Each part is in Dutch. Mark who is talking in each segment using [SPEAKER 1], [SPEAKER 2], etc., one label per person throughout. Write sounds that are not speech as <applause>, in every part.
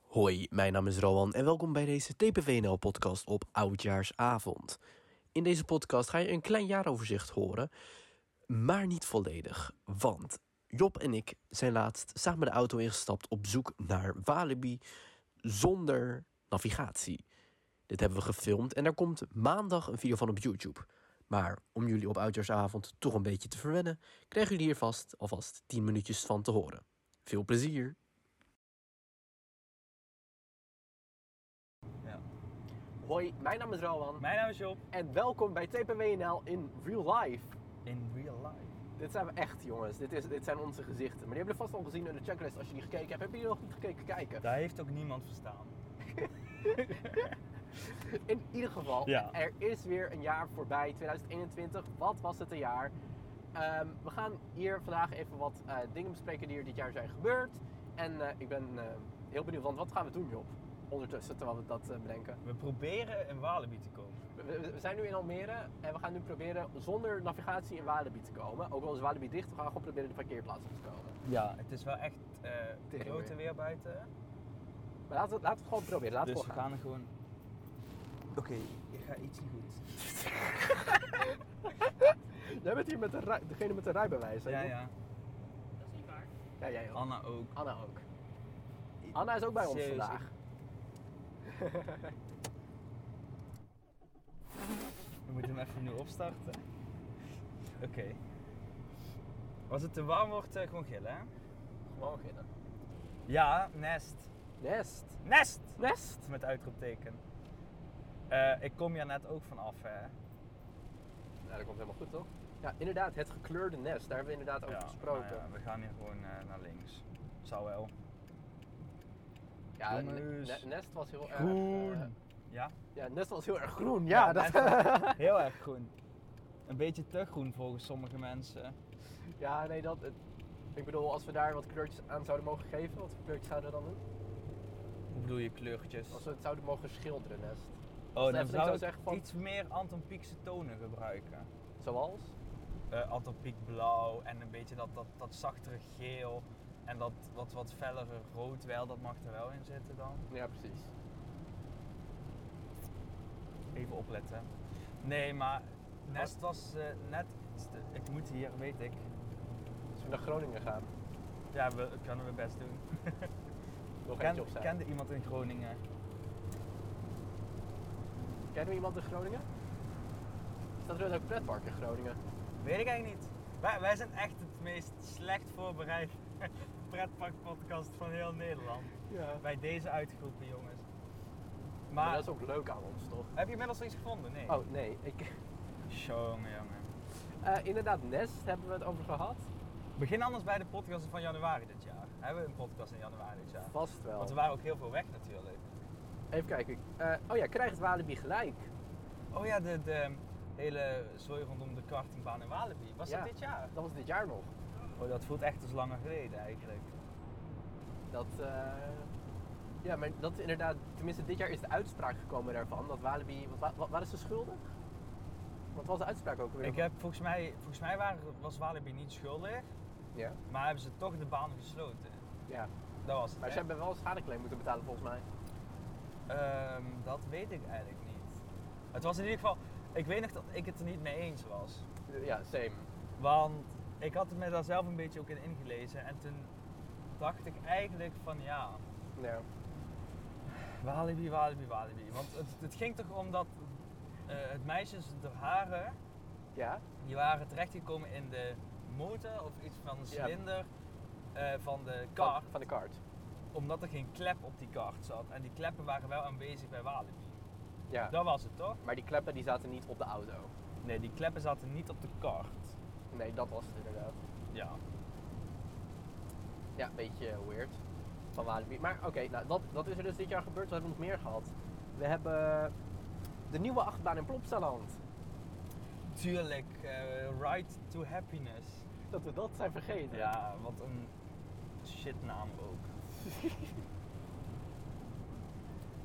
[SPEAKER 1] Hoi, mijn naam is Rowan en welkom bij deze TPVNL-podcast op Oudjaarsavond. In deze podcast ga je een klein jaaroverzicht horen, maar niet volledig. Want Job en ik zijn laatst samen de auto ingestapt op zoek naar Walibi zonder navigatie. Dit hebben we gefilmd en daar komt maandag een video van op YouTube. Maar om jullie op Oudjaarsavond toch een beetje te verwennen, krijgen jullie hier vast alvast 10 minuutjes van te horen. Veel plezier!
[SPEAKER 2] Ja.
[SPEAKER 1] Hoi, mijn naam is Rowan
[SPEAKER 2] Mijn naam is Job.
[SPEAKER 1] en welkom bij TPWNL in real life.
[SPEAKER 2] In real life.
[SPEAKER 1] Dit zijn we echt, jongens. Dit, is, dit zijn onze gezichten. Maar die hebben jullie vast al gezien in de checklist als je die gekeken hebt. Heb je die nog niet gekeken? Kijken.
[SPEAKER 2] Daar heeft ook niemand verstaan.
[SPEAKER 1] In ieder geval,
[SPEAKER 2] Ja.
[SPEAKER 1] er is weer een jaar voorbij, 2021. Wat was het een jaar? Ehm, we gaan hier vandaag even wat eh, dingen bespreken die er dit jaar zijn gebeurd. En eh, ik ben eh, heel benieuwd, want wat gaan we doen, Job? Ondertussen, terwijl we dat eh, bedenken.
[SPEAKER 2] We proberen in Walibi te komen.
[SPEAKER 1] We- We, we zijn nu in Almere en we gaan nu proberen zonder navigatie in Walibi te komen. Ook al is Walibi dicht, we gaan gewoon proberen de parkeerplaats op te komen.
[SPEAKER 2] Ja, het is wel echt eh grote
[SPEAKER 1] weer.
[SPEAKER 2] weer buiten.
[SPEAKER 1] Maar laten we, laten we het gewoon proberen. Laten
[SPEAKER 2] dus
[SPEAKER 1] we
[SPEAKER 2] we
[SPEAKER 1] gewoon gaan.
[SPEAKER 2] gaan er gewoon. Oké, je gaat iets niet goed.
[SPEAKER 1] Jij bent hier met de rij- degene met de rijbewijs. hè,
[SPEAKER 2] Ja,
[SPEAKER 1] Job?
[SPEAKER 2] ja.
[SPEAKER 1] Ja, jij ook.
[SPEAKER 2] Anna ook.
[SPEAKER 1] Anna ook. Anna is ook bij ons
[SPEAKER 2] Serieus,
[SPEAKER 1] vandaag.
[SPEAKER 2] We moeten hem even nu opstarten. Oké. Als het te warm wordt, eh, gewoon gillen, hè?
[SPEAKER 1] <laughs> Gewoon beginnen.
[SPEAKER 2] Ja, nest.
[SPEAKER 1] Nest.
[SPEAKER 2] Nest!
[SPEAKER 1] Nest.
[SPEAKER 2] Met uitroepteken. Eh, ik kom hier net ook vanaf, hè?
[SPEAKER 1] Nou, dat komt helemaal goed, toch? Ja, inderdaad, het gekleurde nest. Daar hebben we inderdaad over gesproken.
[SPEAKER 2] maar ja, we gaan hier gewoon eh, naar links. Zou wel.
[SPEAKER 1] Ja,
[SPEAKER 2] Jongens.
[SPEAKER 1] ne- ne- nest was heel erg... eh,
[SPEAKER 2] Ja?
[SPEAKER 1] ja, nest was heel erg groen. Ja,
[SPEAKER 2] Ja,
[SPEAKER 1] dat...
[SPEAKER 2] nest. Heel erg groen. Een beetje te groen volgens sommige mensen.
[SPEAKER 1] <laughs> ja, nee, dat... het- ik bedoel, als we daar wat kleurtjes aan zouden mogen geven, wat voor kleurtjes zouden we dan doen?
[SPEAKER 2] Hoe bedoel je kleurtjes?
[SPEAKER 1] Als we het zouden mogen schilderen, nest.
[SPEAKER 2] oh,
[SPEAKER 1] Stefan,
[SPEAKER 2] dan
[SPEAKER 1] ik
[SPEAKER 2] zou
[SPEAKER 1] zou
[SPEAKER 2] ik
[SPEAKER 1] zeggen van-
[SPEAKER 2] iets meer Anton Pieckse tonen gebruiken.
[SPEAKER 1] Zoals?
[SPEAKER 2] Eh Anton Pieck blauw en een beetje dat, dat, dat zachtere geel. En dat wat, wat fellere rood wel, dat mag er wel in zitten dan.
[SPEAKER 1] Ja, precies.
[SPEAKER 2] Even opletten. Nee, maar Nest was eh, net... Ik moet hier, weet ik.
[SPEAKER 1] Als we naar Groningen gaan,
[SPEAKER 2] Ja, we dat kunnen we best doen.
[SPEAKER 1] nog eentje
[SPEAKER 2] Ken,
[SPEAKER 1] opstaan.
[SPEAKER 2] kende iemand in Groningen?
[SPEAKER 1] Kennen we iemand in Groningen? Staat er een pretpark in Groningen?
[SPEAKER 2] Weet ik eigenlijk niet. Wij, wij zijn echt het meest slecht voorbereid <laughs> pretparkpodcast van heel Nederland.
[SPEAKER 1] Ja.
[SPEAKER 2] Bij deze uitgeroepen, jongens. Maar,
[SPEAKER 1] Maar dat is ook leuk aan ons, toch?
[SPEAKER 2] heb je inmiddels al iets gevonden? Nee.
[SPEAKER 1] Oh, nee. Ik, <laughs>
[SPEAKER 2] Jongen, jongen.
[SPEAKER 1] Eh, inderdaad, Nest hebben we het over gehad.
[SPEAKER 2] Begin anders bij de podcast van januari dit jaar. Hebben we een podcast in januari dit jaar?
[SPEAKER 1] Vast wel.
[SPEAKER 2] Want we waren ook heel veel weg natuurlijk.
[SPEAKER 1] Even kijken. Eh, oh ja, krijgt Walibi gelijk?
[SPEAKER 2] Oh ja, de, de hele zooi rondom de kartingbaan in Walibi. Was
[SPEAKER 1] Ja.
[SPEAKER 2] dat dit jaar?
[SPEAKER 1] Dat was dit jaar nog.
[SPEAKER 2] Oh, dat voelt echt als langer geleden eigenlijk.
[SPEAKER 1] Dat, eh, ja, maar dat is inderdaad... Tenminste, dit jaar is de uitspraak gekomen daarvan. Dat Walibi... Wat, wa- wa- waar is ze schuldig? Wat was de uitspraak ook weer?
[SPEAKER 2] Ik heb volgens mij, volgens mij waren, was Walibi niet schuldig,
[SPEAKER 1] Ja.
[SPEAKER 2] maar hebben ze toch de baan gesloten.
[SPEAKER 1] ja.
[SPEAKER 2] Dat was het.
[SPEAKER 1] Maar ze
[SPEAKER 2] hè?
[SPEAKER 1] hebben wel een schadeclaim moeten betalen volgens mij.
[SPEAKER 2] Ehm, dat weet ik eigenlijk niet. Het was in ieder geval, ik weet nog dat ik het er niet mee eens was.
[SPEAKER 1] Ja, same.
[SPEAKER 2] Want ik had het me daar zelf een beetje ook in ingelezen en toen dacht ik eigenlijk van ja,
[SPEAKER 1] Ja.
[SPEAKER 2] Walibi, Walibi, Walibi. Want het, het ging toch om dat eh, het meisjes, de haren,
[SPEAKER 1] Ja?
[SPEAKER 2] die waren terechtgekomen in de motor of iets van de
[SPEAKER 1] Ja.
[SPEAKER 2] cilinder eh, van de kar.
[SPEAKER 1] Van, van de kaart.
[SPEAKER 2] Omdat er geen klep op die kaart zat. En die kleppen waren wel aanwezig bij Walibi.
[SPEAKER 1] Ja.
[SPEAKER 2] Dat was het toch?
[SPEAKER 1] Maar die kleppen die zaten niet op de auto.
[SPEAKER 2] Nee, die kleppen zaten niet op de kaart.
[SPEAKER 1] Nee, dat was het inderdaad.
[SPEAKER 2] Ja.
[SPEAKER 1] Ja, een beetje weird van Walibi. Maar oké, nou, dat, dat is er dus dit jaar gebeurd. We hebben nog meer gehad. We hebben de nieuwe achtbaan in Plopsaland.
[SPEAKER 2] Tuurlijk, eh, Ride to Happiness.
[SPEAKER 1] Dat we dat zijn vergeten.
[SPEAKER 2] Ja, wat een shitnaam
[SPEAKER 1] <laughs>
[SPEAKER 2] ook.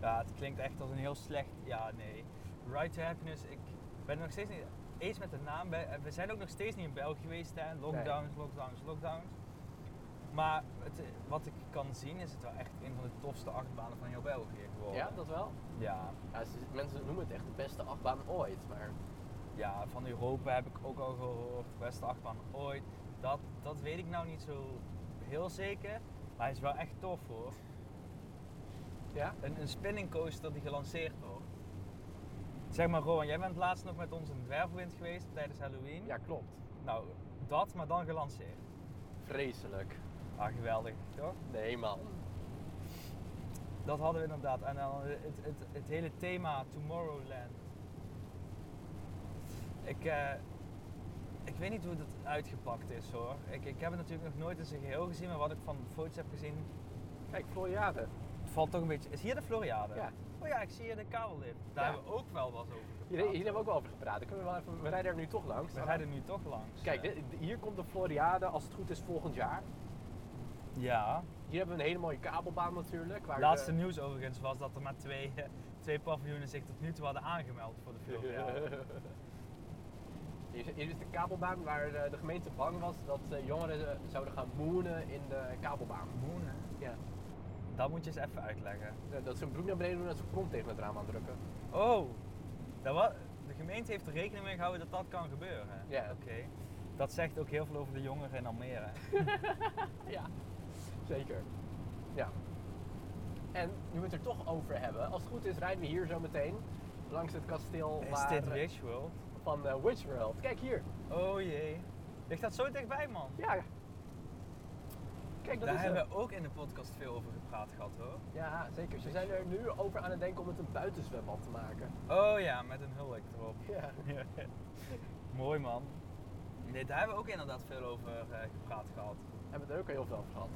[SPEAKER 2] ja, het klinkt echt als een heel slecht... Ja, nee. Ride to Happiness, ik ben er nog steeds niet eens Eh, met de naam. bij- We zijn ook nog steeds niet in België geweest, hè. Lockdowns, lockdowns, lockdowns. Maar het, wat ik kan zien is het wel echt een van de tofste achtbanen van jouw België geworden.
[SPEAKER 1] Ja, dat wel.
[SPEAKER 2] ja,
[SPEAKER 1] Ja, ze- mensen noemen het echt de beste achtbaan ooit, maar
[SPEAKER 2] ja, van Europa heb ik ook al gehoord. Beste achtbaan ooit. Dat, dat weet ik nou niet zo heel zeker. Maar hij is wel echt tof hoor.
[SPEAKER 1] ja.
[SPEAKER 2] Een, een spinning coaster die gelanceerd wordt. Zeg maar Rowan, jij bent laatst nog met ons in Dwergwind geweest tijdens Halloween.
[SPEAKER 1] Ja, klopt.
[SPEAKER 2] Nou, dat, maar dan gelanceerd.
[SPEAKER 1] Vreselijk.
[SPEAKER 2] Ah, geweldig, toch?
[SPEAKER 1] Nee, man.
[SPEAKER 2] Dat hadden we inderdaad. En dan het, het, het hele thema Tomorrowland. Ik, eh, ik weet niet hoe dat uitgepakt is hoor. Ik, ik heb het natuurlijk nog nooit in zijn geheel gezien, maar wat ik van foto's heb gezien,
[SPEAKER 1] Kijk, Floriade.
[SPEAKER 2] het valt toch een beetje. Is hier de Floriade?
[SPEAKER 1] Ja.
[SPEAKER 2] Oh ja, ik zie hier de kabellift. Daar
[SPEAKER 1] Ja.
[SPEAKER 2] hebben we ook wel wat over gepraat.
[SPEAKER 1] Hier, hier hebben we ook wel over gepraat. Dan Kunnen we, wel even, we rijden er nu toch langs.
[SPEAKER 2] We rijden nu toch langs.
[SPEAKER 1] Kijk,
[SPEAKER 2] eh.
[SPEAKER 1] dit- hier komt de Floriade als het goed is volgend jaar.
[SPEAKER 2] Ja.
[SPEAKER 1] Hier hebben we een hele mooie kabelbaan natuurlijk. Waar eh,
[SPEAKER 2] Laatste
[SPEAKER 1] we-
[SPEAKER 2] nieuws overigens was dat er maar twee, eh, twee paviljoenen zich tot nu toe hadden aangemeld voor de Floriade.
[SPEAKER 1] <laughs> Hier is, hier is de kabelbaan waar eh, de gemeente bang was dat eh, jongeren eh, zouden gaan moenen in de kabelbaan.
[SPEAKER 2] Moon, hè?
[SPEAKER 1] Ja.
[SPEAKER 2] Dat moet je eens even uitleggen.
[SPEAKER 1] Eh, Dat ze hun broek naar beneden doen en ze hun kont tegen het raam aandrukken.
[SPEAKER 2] Oh, dat wa- de gemeente heeft er rekening mee gehouden dat dat kan gebeuren.
[SPEAKER 1] Ja.
[SPEAKER 2] Oké. Dat zegt ook heel veel over de jongeren in Almere.
[SPEAKER 1] <laughs> Ja, zeker. Ja. En nu we het er toch over hebben, als het goed is rijden we hier zo meteen langs het kasteel
[SPEAKER 2] Is
[SPEAKER 1] waar-
[SPEAKER 2] dit Wish World?
[SPEAKER 1] van eh, Witch World. Kijk hier.
[SPEAKER 2] Oh jee. Ligt dat zo dichtbij, man?
[SPEAKER 1] Ja. Kijk, dat
[SPEAKER 2] Daar
[SPEAKER 1] is hem.
[SPEAKER 2] hebben we ook in de podcast veel over gepraat gehad, hoor.
[SPEAKER 1] Ja, zeker. Ze zijn er nu over aan het denken om het een buitenzwembad te maken.
[SPEAKER 2] Oh ja, met een hulk erop.
[SPEAKER 1] Ja.
[SPEAKER 2] <laughs> Mooi, man. Nee, daar hebben we ook inderdaad veel over eh, gepraat gehad.
[SPEAKER 1] <laughs> Hebben we er ook heel veel over gehad.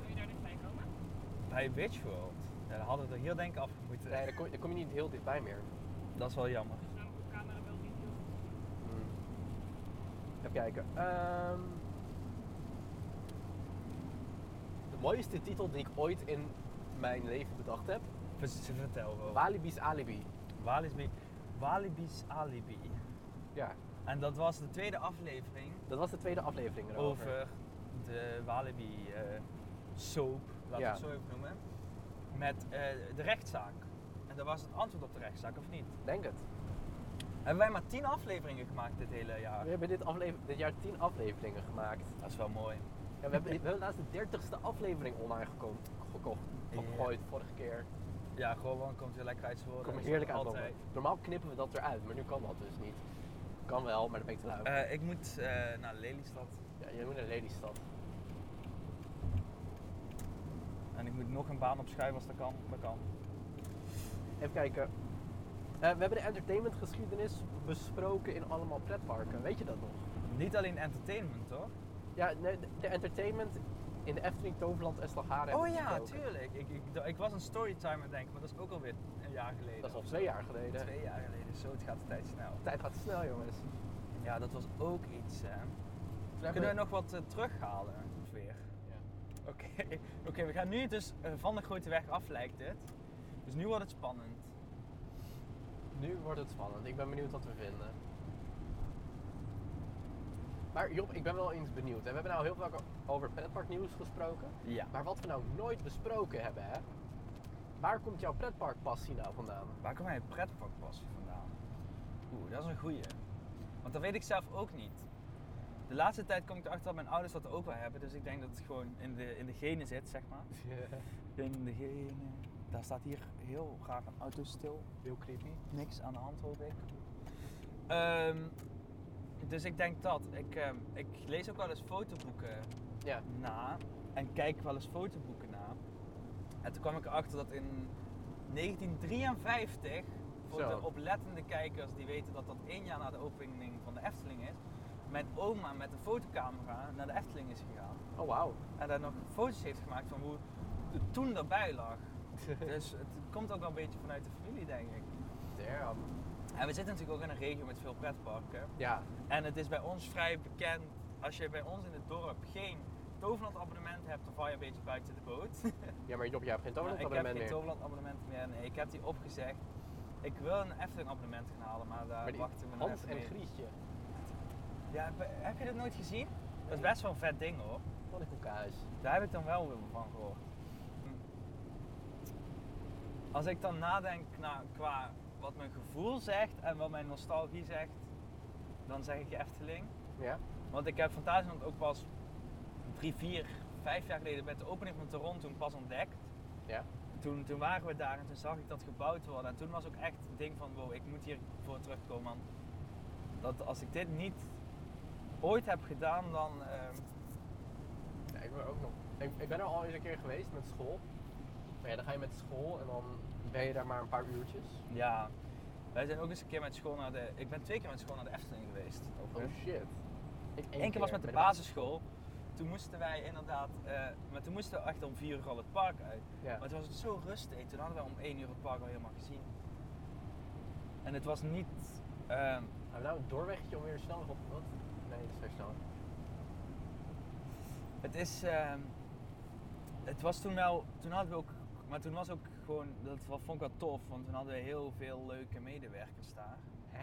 [SPEAKER 3] Wil je daar dichtbij komen?
[SPEAKER 2] Eh, Bij Witch World. Ja, dan hadden we er hier denk ik af moeten.
[SPEAKER 1] Nee, daar kom, daar kom je niet heel dichtbij meer.
[SPEAKER 2] Dat is wel jammer.
[SPEAKER 3] Dus namelijk op camera wel niet heel goed.
[SPEAKER 1] Hmm. Even kijken. Ehm, de mooiste titel die ik ooit in mijn leven bedacht heb.
[SPEAKER 2] Vers- Vertel wel.
[SPEAKER 1] Walibi's Alibi.
[SPEAKER 2] Walibi. Walibi's Alibi.
[SPEAKER 1] Ja,
[SPEAKER 2] En dat was de tweede aflevering
[SPEAKER 1] dat was de tweede aflevering erover.
[SPEAKER 2] over de Walibi eh, soap, laten we
[SPEAKER 1] Ja.
[SPEAKER 2] het zo even noemen. Met eh, de rechtszaak. En dat was het antwoord op de rechtszaak, of niet?
[SPEAKER 1] Denk het.
[SPEAKER 2] Hebben wij maar tien afleveringen gemaakt dit hele jaar?
[SPEAKER 1] We hebben dit, aflever- dit jaar tien afleveringen gemaakt.
[SPEAKER 2] Dat is wel mooi.
[SPEAKER 1] Ja, we, hebben, we hebben laatst de dertigste aflevering online geko- gekocht.
[SPEAKER 2] Ja.
[SPEAKER 1] Opgegooid vorige keer.
[SPEAKER 2] Ja, gewoon komt weer lekker uit zijn woorden.
[SPEAKER 1] Kom
[SPEAKER 2] Dat is
[SPEAKER 1] heerlijk aan
[SPEAKER 2] altijd.
[SPEAKER 1] Normaal knippen we dat eruit, maar nu kan dat dus niet. Kan wel, maar dan ben ik te lui.
[SPEAKER 2] Eh, ik moet eh, naar Lelystad.
[SPEAKER 1] Ja, je moet naar Lelystad.
[SPEAKER 2] En ik moet nog een baan opschuiven als dat kan. Dat kan.
[SPEAKER 1] Even kijken. Eh, we hebben de entertainmentgeschiedenis besproken in allemaal pretparken. Weet je dat nog?
[SPEAKER 2] Niet alleen entertainment, toch?
[SPEAKER 1] Ja, nee, de, de entertainment in de Efteling, Toverland en Slagharen. hebben
[SPEAKER 2] Oh
[SPEAKER 1] we
[SPEAKER 2] ja,
[SPEAKER 1] besproken.
[SPEAKER 2] tuurlijk. Ik, ik, ik was een storytimer denk ik, maar dat is ook alweer een jaar geleden.
[SPEAKER 1] Dat is al twee jaar geleden.
[SPEAKER 2] Twee jaar geleden, zo het gaat de tijd snel.
[SPEAKER 1] De tijd gaat snel, jongens.
[SPEAKER 2] Ja, dat was ook iets. Hè.
[SPEAKER 1] Toen hebben
[SPEAKER 2] Kunnen we nog wat eh, terughalen?
[SPEAKER 1] <laughs>
[SPEAKER 2] Weer.
[SPEAKER 1] Ja.
[SPEAKER 2] Oké, oké, we gaan nu dus eh, van de grote weg af, lijkt het. Dus nu wordt het spannend.
[SPEAKER 1] Nu wordt het spannend. Ik ben benieuwd wat we vinden. Maar Job, ik ben wel eens benieuwd. hè. We hebben nou heel vaak o- over pretparknieuws gesproken.
[SPEAKER 2] Ja.
[SPEAKER 1] Maar wat we nou nooit besproken hebben, hè? Waar komt jouw pretparkpassie nou
[SPEAKER 2] <laughs>
[SPEAKER 1] vandaan?
[SPEAKER 2] Waar komt mijn pretparkpassie vandaan? Oeh, dat is een goeie. Want dat weet ik zelf ook niet. De laatste tijd kom ik erachter dat mijn ouders dat ook wel hebben. Dus ik denk dat het gewoon in de, in de genen zit, zeg maar. In de genen. Daar staat hier heel graag een auto stil.
[SPEAKER 1] Heel creepy.
[SPEAKER 2] Niks aan de hand hoop ik. Ehm, dus ik denk dat. Ik, ehm, ik lees ook wel eens fotoboeken
[SPEAKER 1] Ja.
[SPEAKER 2] na. En kijk wel eens fotoboeken na. En toen kwam ik erachter dat in 1953, voor
[SPEAKER 1] Zo.
[SPEAKER 2] de oplettende kijkers die weten dat dat één jaar na de opening van de Efteling is, mijn oma met een fotocamera naar de Efteling is gegaan.
[SPEAKER 1] Oh, wauw.
[SPEAKER 2] En daar nog foto's heeft gemaakt van hoe het toen daarbij
[SPEAKER 1] <laughs>
[SPEAKER 2] lag. Dus het komt ook wel een beetje vanuit de familie, denk ik.
[SPEAKER 1] Damn.
[SPEAKER 2] En we zitten natuurlijk ook in een regio met veel pretparken.
[SPEAKER 1] Ja,
[SPEAKER 2] En het is bij ons vrij bekend, als je bij ons in het dorp geen Toverland abonnement hebt, dan val je een beetje buiten de boot.
[SPEAKER 1] ja maar Job, jij hebt geen <laughs>
[SPEAKER 2] Maar
[SPEAKER 1] Toverland
[SPEAKER 2] Nou, ik heb
[SPEAKER 1] abonnement
[SPEAKER 2] geen
[SPEAKER 1] meer.
[SPEAKER 2] Toverland abonnement meer. Nee, ik heb die opgezegd. Ik wil een Efteling abonnement gaan halen, maar daar
[SPEAKER 1] Maar die
[SPEAKER 2] wachten we nog
[SPEAKER 1] Hans
[SPEAKER 2] even
[SPEAKER 1] en
[SPEAKER 2] mee.
[SPEAKER 1] Grietje.
[SPEAKER 2] Ja, heb, heb je dat nooit gezien? Dat is best wel een vet ding hoor.
[SPEAKER 4] Pannenkoekhuis.
[SPEAKER 2] Daar heb ik dan wel weer van gehoord. Hm. Als ik dan nadenk na, qua wat mijn gevoel zegt en wat mijn nostalgie zegt, dan zeg ik Efteling.
[SPEAKER 4] Ja?
[SPEAKER 2] Want ik heb Fantasieland ook pas drie, vier, vijf jaar geleden met de opening van Toron toen pas ontdekt.
[SPEAKER 4] Ja.
[SPEAKER 2] Toen, toen waren we daar en toen zag ik dat gebouwd worden. En toen was ook echt het ding van, wow, ik moet hiervoor terugkomen. Want dat als ik dit niet ooit heb gedaan, dan... ehm,
[SPEAKER 4] Ja, ik ben ook nog. Ik, ik ben er al eens een keer geweest met school. Maar ja, dan ga je met school en dan ben je daar maar een paar uurtjes.
[SPEAKER 2] Ja, wij zijn ook eens een keer met school naar de. Ik ben twee keer met school naar de Efteling geweest.
[SPEAKER 4] Oh
[SPEAKER 2] overigens.
[SPEAKER 4] shit. Ik
[SPEAKER 2] Eén keer was met de basisschool. Toen moesten wij inderdaad, eh, maar toen moesten we echt om vier uur al het park uit.
[SPEAKER 4] Ja.
[SPEAKER 2] Maar toen was het zo rustig. Toen hadden wij om één uur het park al helemaal gezien. En het was niet. ehm,
[SPEAKER 4] Hebben we nou een doorwegje om weer snel op wat? Nee, dat is vrij snel.
[SPEAKER 2] het is. ehm, het was toen wel. Toen hadden we ook. Maar toen was ook gewoon. Dat wa- vond ik wel tof, want toen hadden we heel veel leuke medewerkers daar.
[SPEAKER 4] Hè?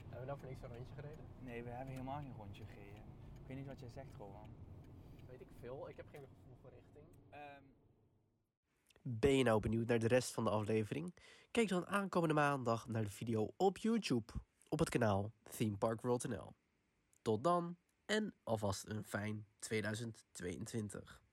[SPEAKER 4] Hebben we nou voor niks een rondje gereden?
[SPEAKER 2] Nee, we hebben helemaal geen rondje gereden. Ik weet niet wat jij zegt, Rowan.
[SPEAKER 4] Weet ik veel. Ik heb geen gevoel voor richting.
[SPEAKER 2] Ehm,
[SPEAKER 1] Ben je nou benieuwd naar de rest van de aflevering? Kijk dan aankomende maandag naar de video op YouTube op het kanaal Theme Park World NL. Tot dan en alvast een fijn 2022.